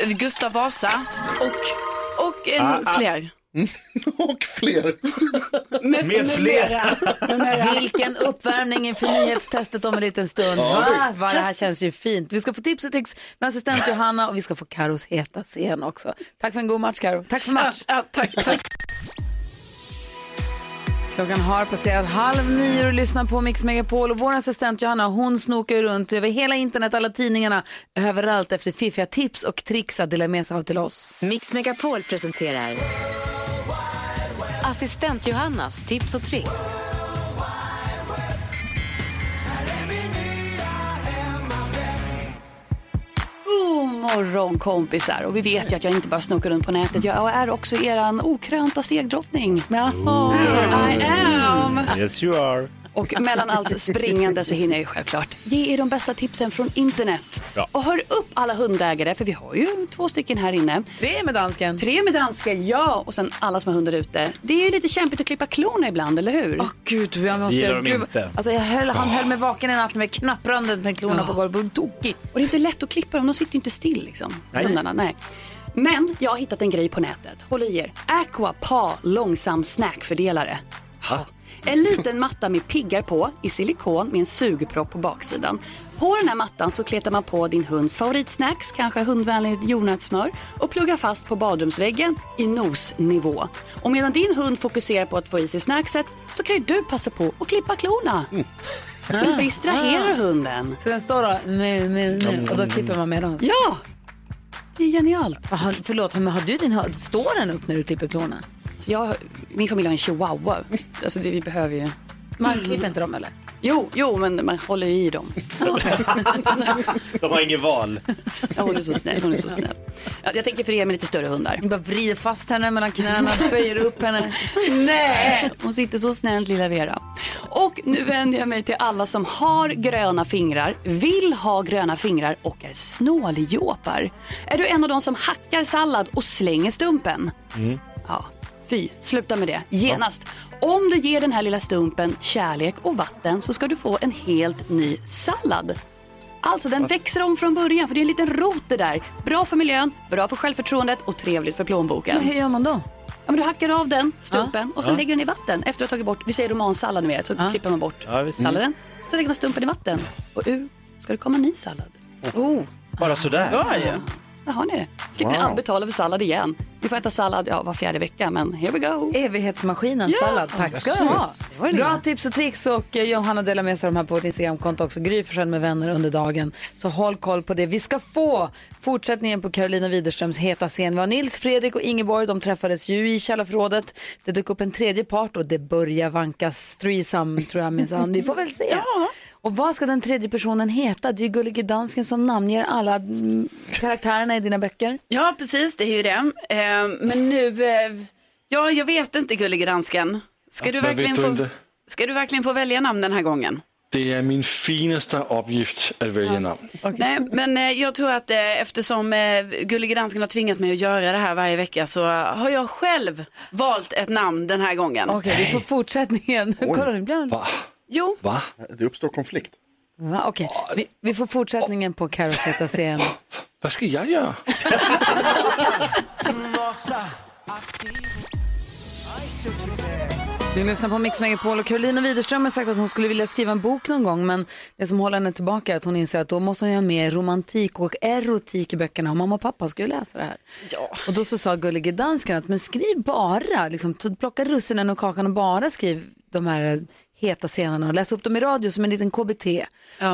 Gustav Vasa och, och eh, Ah, ah. fler. och fler. Med flera. Vilken uppvärmning inför nyhetstestet om en liten stund. Ja, Va? visst. Va? Det här känns ju fint. Vi ska få tips och tricks med assistent Johanna och vi ska få Karos heta scen också. Tack för en god match Karo. Tack för match. tack, tack. Klockan har passerat halv nio och lyssnar på Mix Megapol och vår assistent Johanna hon snokar ju runt över hela internet, alla tidningarna, överallt efter fiffiga tips och tricks att dela med sig av till oss. Mix Megapol presenterar Assistent Johannas tips och tricks. God morgon kompisar. Och vi vet ju att jag inte bara snokar runt på nätet. Jag är också eran okrönta stegdrottning. I am. Yes you are. Och mellan allt springande så hinner jag ju självklart ge er de bästa tipsen från internet. Ja. Och hör upp alla hundägare, för vi har ju två stycken här inne. Tre med dansken. Tre med dansken, ja. Och sen alla som har hundar ute. Det är ju lite kämpigt att klippa klorna ibland, eller hur? Åh gud, jag måste... Gillar dem inte. Alltså jag höll, han höll mig vaken en natt med knapprandet med klorna på golvet. Och tokigt. Och det är inte lätt att klippa dem, de sitter ju inte still liksom. Nej. Hundarna, nej. Men jag har hittat en grej på nätet. Håll i er. Aqua Pa långsam snackfördelare. En liten matta med piggar på i silikon med en sugpropp på baksidan. På den här mattan så kletar man på din hunds favoritsnacks, kanske hundvänligt jordnötssmör och pluggar fast på badrumsväggen i nosnivå. Och medan din hund fokuserar på att få i sig snackset så kan ju du passa på att klippa klorna. Så du distraherar hunden. Så den står då nu, nu, nu, och då klipper man med den? Ja! Det är genialt. Aha, förlåt, men har du din hö- Står den upp när du klipper klorna? Så Alltså, jag, min familj har en chihuahua. Alltså det, vi behöver ju... Man klipper inte dem eller? Jo, jo, men man håller i dem. De har inget val. Ja, hon är så snäll. Hon är så snäll. Ja, jag tänker för er med lite större hundar. Ni bara vrider fast henne mellan knäna, böjer upp henne. Nej, Eh, hon sitter så snällt lilla Vera. Och nu vänder jag mig till alla som har gröna fingrar, vill ha gröna fingrar och är snåljåpar. Är du en av dem som hackar sallad och slänger stumpen? Mm. Ja, fy, sluta med det genast. Om du ger den här lilla stumpen kärlek och vatten så ska du få en helt ny sallad. Alltså den växer om från början för det är en liten rot det där. Bra för miljön, bra för självförtroendet och trevligt för plånboken. Men hur gör man då? Ja, men du hackar av den, stumpen, och sen Ja. lägger den i vatten. Efter att ha tagit bort, vi säger romansallad ni vet, så klipper man bort Ja, visst. salladen. Så lägger man stumpen i vatten och ur ska det komma en ny sallad. Oh. Bara sådär. Där har ni det. Slipper ni Wow. aldrig betala för sallad igen. Vi får äta sallad ja, var fjärde vecka, men here we go. Evighetsmaskinen, Ja. sallad. Tack ska du ha. Det var det Bra lilla. tips och tricks och eh, Johanna delar med sig av de här på vårt Instagramkonto också. Gry Forssell med vänner under dagen. Så håll koll på det. Vi ska få fortsättningen på Carolina Widerströms heta scen. Vi har Nils, Fredrik och Ingeborg. De träffades ju i källarförrådet. Det dök upp en tredje part och det börjar vankas threesome tror jag minsann. Vi får väl se. Och vad ska den tredje personen heta? Det är ju Gullige Dansken som namnger alla mm, karaktärerna i dina böcker. Ja, precis, det är ju det. Eh, men nu, eh, ja, jag vet inte gullige dansken. Ska du, men verkligen vet du få, inte? ska du verkligen få välja namn den här gången? Det är min finaste uppgift att välja namn. Nej, men eh, jag tror att eh, eftersom eh, Gullige Dansken har tvingat mig att göra det här varje vecka så eh, har jag själv valt ett namn den här gången. Okej, vi får fortsättningen. Kolla, nu blir han- Jo. Va? Det uppstår konflikt. Va? Okej, vi, vi får fortsättningen på Carros heta scen. Vad ska jag göra? Du lyssnar på Mix Megapol och Carolina Widerström har sagt att hon skulle vilja skriva en bok någon gång men det som håller henne tillbaka är att hon inser att då måste hon ju ha med romantik och erotik i böckerna och mamma och pappa ska ju läsa det här. Ja. Och då så sa gullige dansken att men skriv bara, liksom, t- plocka russinen och kakan och bara skriv de här heta scenerna och läs upp dem i radio som en liten KBT.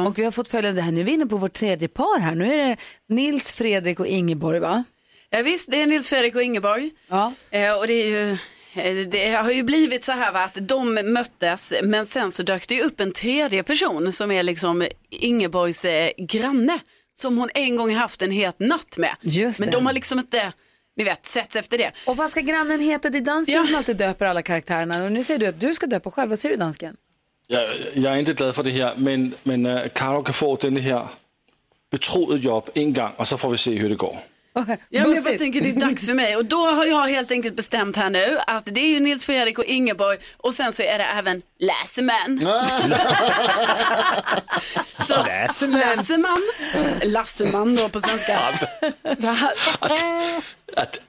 Och vi har fått följa det här, nu är vi inne på vårt tredje par här, nu är det Nils, Fredrik och Ingeborg va? Ja, visst, det är Nils Fredrik och Ingeborg. Eh, och det, är ju, eh, det har ju blivit så här va, att de möttes men sen så dök det ju upp en tredje person som är liksom Ingeborgs eh, granne som hon en gång haft en het natt med. Just men det. de har liksom inte, ni vet, setts efter det. Och vad ska grannen heta? Det är dansken som alltid döper alla karaktärerna. Och nu säger du att du ska döpa själv. Vad säger du dansken? Jeg, jeg er ikke glad for det her, men, men øh, Caro kan få denne her betroede job en gang, och så får vi se, hur det går. Ja, men jag bara Bussigt. tänker det är dags för mig och då har jag helt enkelt bestämt här nu att det är ju Nils Fredrik och Ingeborg och sen så är det även Läseman. så, Läseman. Läseman. Lasseman då på svenska. Så här. At,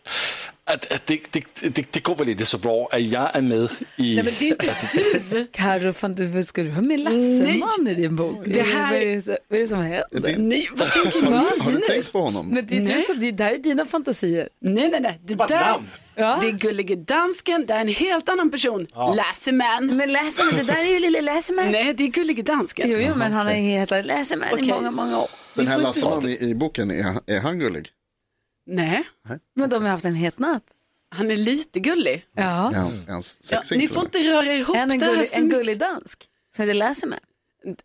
at, at det, det, det, det går väl inte så bra, att jag är med i... Nej, men det är inte at- du. Carro, fan, du, ska du ha med Lasseman i din bok? Det här- Vad, är det, som- vad är det som händer? Nej, vad tänker Har ni du- har du nu? tänkt på honom? Men det, är du Nej. som, det, det här är dina fantasier. Nej, nej, nej. Det där, namn. det är gullige dansken, det är en helt annan person. Ja. Läseman. Men Läseman, det där är ju lille Läseman. Nej, det är gullige dansken. Jo, jo, men han har ju hetat Läseman i Okej. många, många år. Den här Lasseman i, i boken, är, är han gullig? Nej. Men de har haft en het natt. Han är lite gullig. Ja. Är han, är han Ja, sexig? ni får inte röra ihop En, en, det här gullig, för en mycket. gullig dansk som heter Läseman.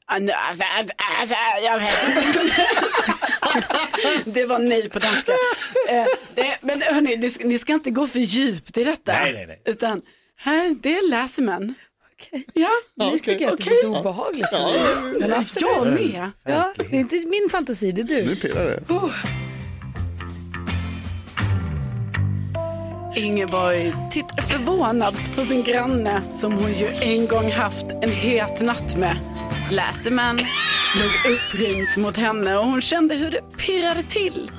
Alltså, alltså, alltså, jag vet inte. Det var nej på danska. Eh, det, men hörni, ni, ska- ni ska inte gå för djupt i detta. Nej, nej, nej. Utan här, det läser man. Ja, Nu tycker jag att det är lite obehagligt. Ja. Men alltså, Jag med. Ja, det är inte min fantasi, det är du. Nu pirrar det. Ingeborg tittar förvånad på sin granne som hon ju en gång haft en het natt med. Läseman låg upprymt mot henne och hon kände hur det pirrade till.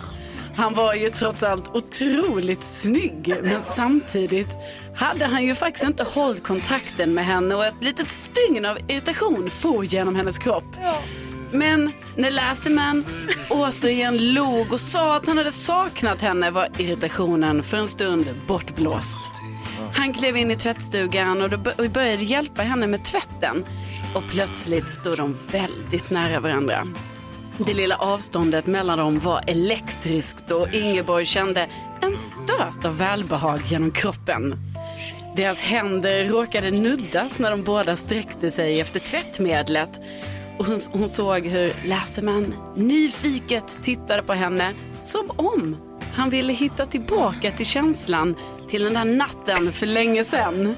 Han var ju trots allt otroligt snygg men samtidigt hade han ju faktiskt inte hållit kontakten med henne och ett litet stygn av irritation for genom hennes kropp. Men när Läseman återigen log och sa att han hade saknat henne var irritationen för en stund bortblåst. Han klev in i tvättstugan och då bör- och började hjälpa henne med tvätten. Och plötsligt stod de väldigt nära varandra. Det lilla avståndet mellan dem var elektriskt och Ingeborg kände en stöt av välbehag genom kroppen. Deras händer råkade nuddas när de båda sträckte sig efter tvättmedlet. Och hon, hon såg hur Läseman nyfiket tittade på henne som om han ville hitta tillbaka till känslan till den där natten för länge sedan.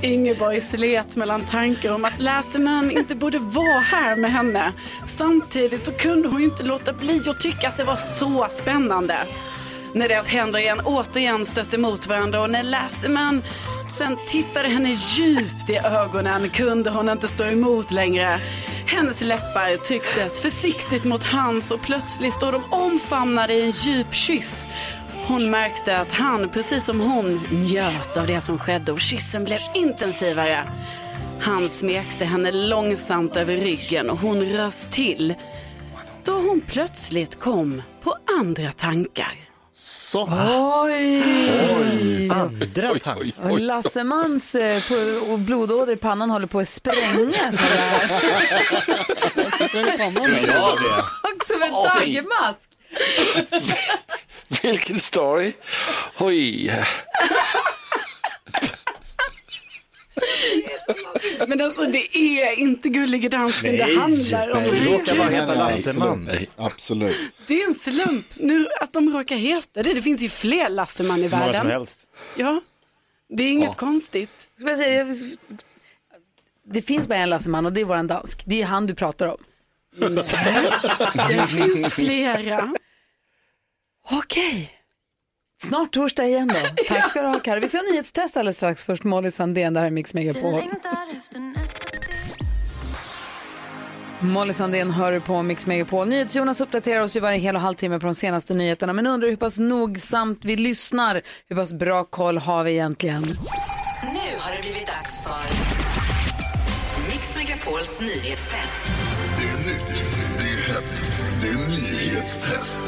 Ingeborg slet mellan tankar om att Läseman inte borde vara här med henne. Samtidigt så kunde hon ju inte låta bli att tycka att det var så spännande. När deras händer igen återigen stötte mot varandra och när Läseman sen tittade henne djupt i ögonen kunde hon inte stå emot längre. Hennes läppar trycktes försiktigt mot hans och plötsligt stod de omfamnade i en djup kyss. Hon märkte att han, precis som hon, njöt av det som skedde och kyssen blev intensivare. Han smekte henne långsamt över ryggen och hon rös till då hon plötsligt kom på andra tankar. Så. Oj! Andra Och tankar. Lassemans eh, på- och blodåder i pannan håller på att sprängas. av det här. Ja, det. Som en dagmask. Vilken story! Oj. Men alltså det är inte gullige dansken det handlar om. Herregud. Lasseman. Absolut. Det är en slump nu att de råkar heta det. Det finns ju fler Lasseman i världen. Ja, det är inget Ja. konstigt. Ska jag säga, jag- det finns bara en Lasseman och det är våran dansk. Det är han du pratar om. Det finns flera. Okej. Snart torsdag igen då. Tack ska du ha Karo. Vi ska ha nyhetstest alldeles strax. Först Molly Sandén, det här är Mix Megapol. Molly Sandén hör du på Mix Megapol. NyhetsJonas uppdaterar oss ju varje hel och halvtimme på de senaste nyheterna men undrar hur pass nogsamt vi lyssnar. Hur pass bra koll har vi egentligen? Nu har det blivit dags för Mix Megapols nyhetstest. Det är nytt, det är hett, det är nyhetstest.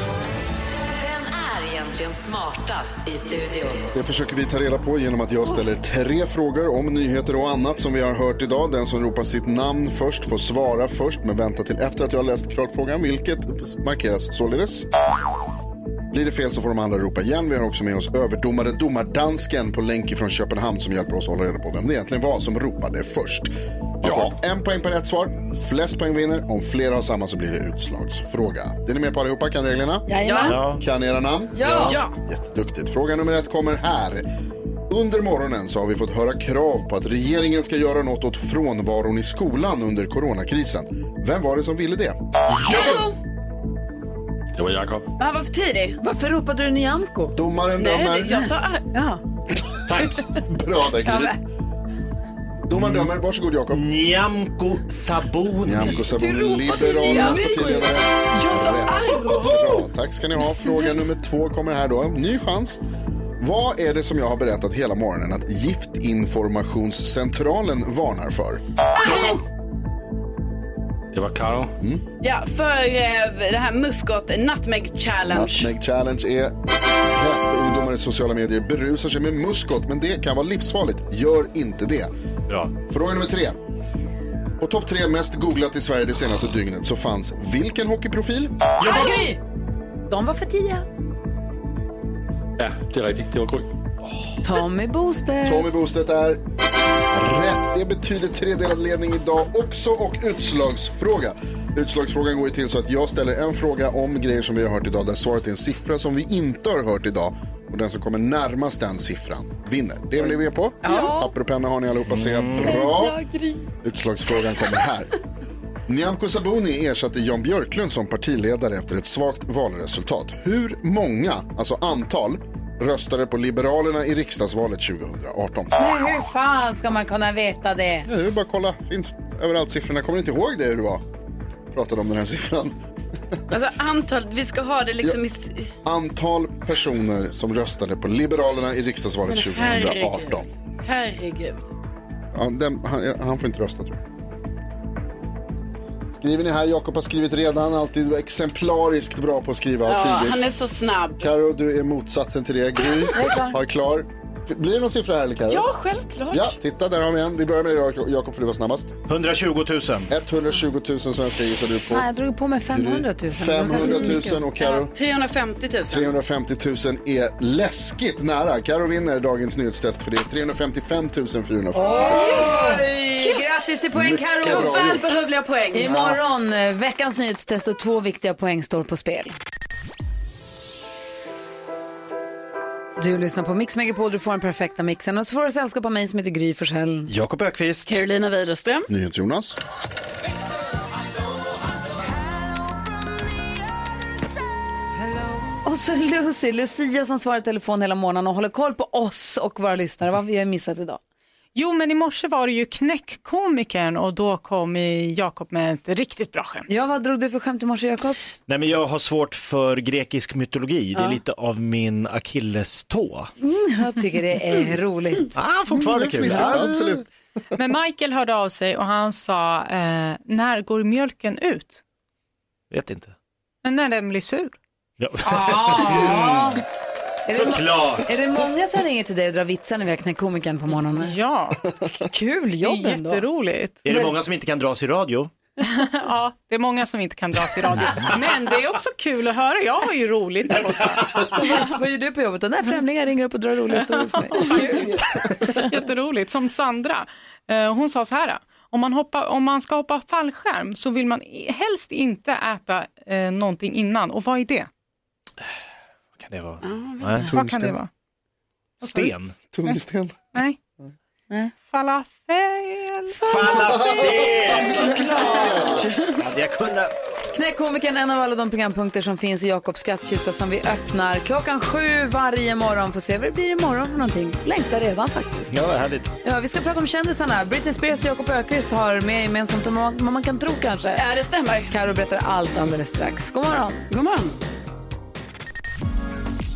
Vem är egentligen smartast i studion? Det försöker vi ta reda på genom att jag ställer tre frågor om nyheter och annat som vi har hört idag. Den som ropar sitt namn först får svara först men vänta till efter att jag har läst klart frågan, vilket markeras således. Blir det fel så får de andra ropa igen. Vi har också med oss överdomaren Domardansken på länk från Köpenhamn som hjälper oss hålla reda på vem det egentligen var som ropade först. Man får en poäng per rätt svar. Flest poäng vinner. Om flera har samma så blir det utslagsfråga. Är ni med på allihopa? Kan reglerna? Jajamän. Ja. Kan era namn? Ja. Ja. Jätteduktigt. Fråga nummer ett kommer här. Under morgonen så har vi fått höra krav på att regeringen ska göra något åt frånvaron i skolan under coronakrisen. Vem var det som ville det? Det var Jakob. Han var för tidig. Varför ropade du Nyamko? Domaren Nej, dömer. det- jag sa... Ja. Tack. Bra där, Gry. Domaren dömer. Varsågod, Jakob. Nyamko Sabuni. Nyamko Sabuni, Nyamko. Liberalernas partiledare. Jag sa Bra, tack ska ni ha. Fråga nummer två kommer här då. Ny chans. Vad är det som jag har berättat hela morgonen att Giftinformationscentralen varnar för? Det var Karo. Mm. Ja, för eh, det här muskot Nutmeg Challenge. Nutmeg Challenge är rätt. Ungdomar i sociala medier berusar sig med muskot, men det kan vara livsfarligt. Gör inte det. Bra. Fråga nummer tre. På topp tre mest googlat i Sverige det senaste dygnet så fanns vilken hockeyprofil? Gry! De var för tidiga. Ja, det är rigtigt. Det var Gry. Tommy Booster. Tommy Bostedt är rätt. Det betyder tredelad ledning idag också och utslagsfråga. Utslagsfrågan går ju till så att jag ställer en fråga om grejer som vi har hört idag där svaret är en siffra som vi inte har hört idag. Och den som kommer närmast den siffran vinner. Det vill ni med på? Ja. Papper och penna har ni allihopa, ser jag. Bra. Utslagsfrågan kommer här. Nyamko Sabuni ersatte Jan Björklund som partiledare efter ett svagt valresultat. Hur många, alltså antal, röstade på Liberalerna i riksdagsvalet 2018? Men hur fan ska man kunna veta det? Ja, det är bara att kolla. Finns överallt siffrorna. Kommer inte ihåg det hur det var? Pratade om den här siffran. Alltså antal, vi ska ha det liksom i... s- Antal personer som röstade på Liberalerna i riksdagsvalet Men herregud. 2018. Herregud. Ja, den, han, han får inte rösta tror jag. Skriver ni här, Jakob har skrivit redan, alltid exemplariskt bra på att skriva. Ja, tidigt. han är så snabb. Karo, du är motsatsen till det. Gry Jag är klar. har klar. Blir det någon siffra här eller Karo? Ja, självklart. Ja, titta där har vi en. Vi börjar med dig Jakob för du var snabbast. 120 000. 120 000 svenskar gissar du Nej, på. jag drog på mig 500 000. 500 000 och Karo. 350 000. 350 000 är läskigt nära. Karo vinner dagens nyhetstest för det är 355 446. Yes! Grattis till poäng Mycket Carro! bra gjort. Välbehövliga poäng. Imorgon, eh, veckans nyhetstest och två viktiga poäng står på spel. Du lyssnar på Mix Megapol, du får den perfekta mixen och så får du sällskap av mig som heter Gry Forssell. Jakob Ökvist. Carolina Widerström. NyhetsJonas. Och så Lucy, Lucia som svarar i telefon hela morgonen och håller koll på oss och våra lyssnare. Vad har vi har missat idag? Jo, men i morse var det ju knäckkomikern och då kom eh, Jakob med ett riktigt bra skämt. Ja, vad drog du för skämt i morse Jakob? Nej, men jag har svårt för grekisk mytologi. Det är lite av min akillestå. Mm, jag tycker det är roligt. Ah, fortfarande Mm, kul. fnissigt, Ja. absolut. Men Michael hörde av sig och han sa, eh, när går mjölken ut? Vet inte. Men när den blir sur. Ja. Är det Såklart. må- Är det många som ringer till dig och drar vitsar när vi har knäckt komikern på morgonen? Ja. Kul jobb Det är ändå. jätteroligt. Är det många som inte kan dras i radio? ja, det är många som inte kan dras i radio. Men det är också kul att höra. Jag har ju roligt där borta. Vad- Vad gör du på jobbet? Den där främlingen ringer upp och drar roliga historier för mig. Jätteroligt. Som Sandra, eh, hon sa så här. Om man, hoppar, om man ska hoppa fallskärm så vill man i- helst inte äta eh, någonting innan. Och vad är det? Vad kan det vara? vad Nej. kan det vara? Sten. Tungsten. Nej. Falafel. Falafel! Såklart. Hade jag kunnat. Knäck komikern, en av alla de programpunkter som finns i Jakobs skattkista som vi öppnar klockan sju varje morgon. Får se vad det blir imorgon för någonting. Längtar redan faktiskt. Ja, vad härligt. Ja, vi ska prata om kändisarna. Britney Spears och Jakob Ökvist har mer gemensamt än vad man kan tro kanske. Ja, det stämmer. Karo berättar allt alldeles strax. God morgon. God morgon.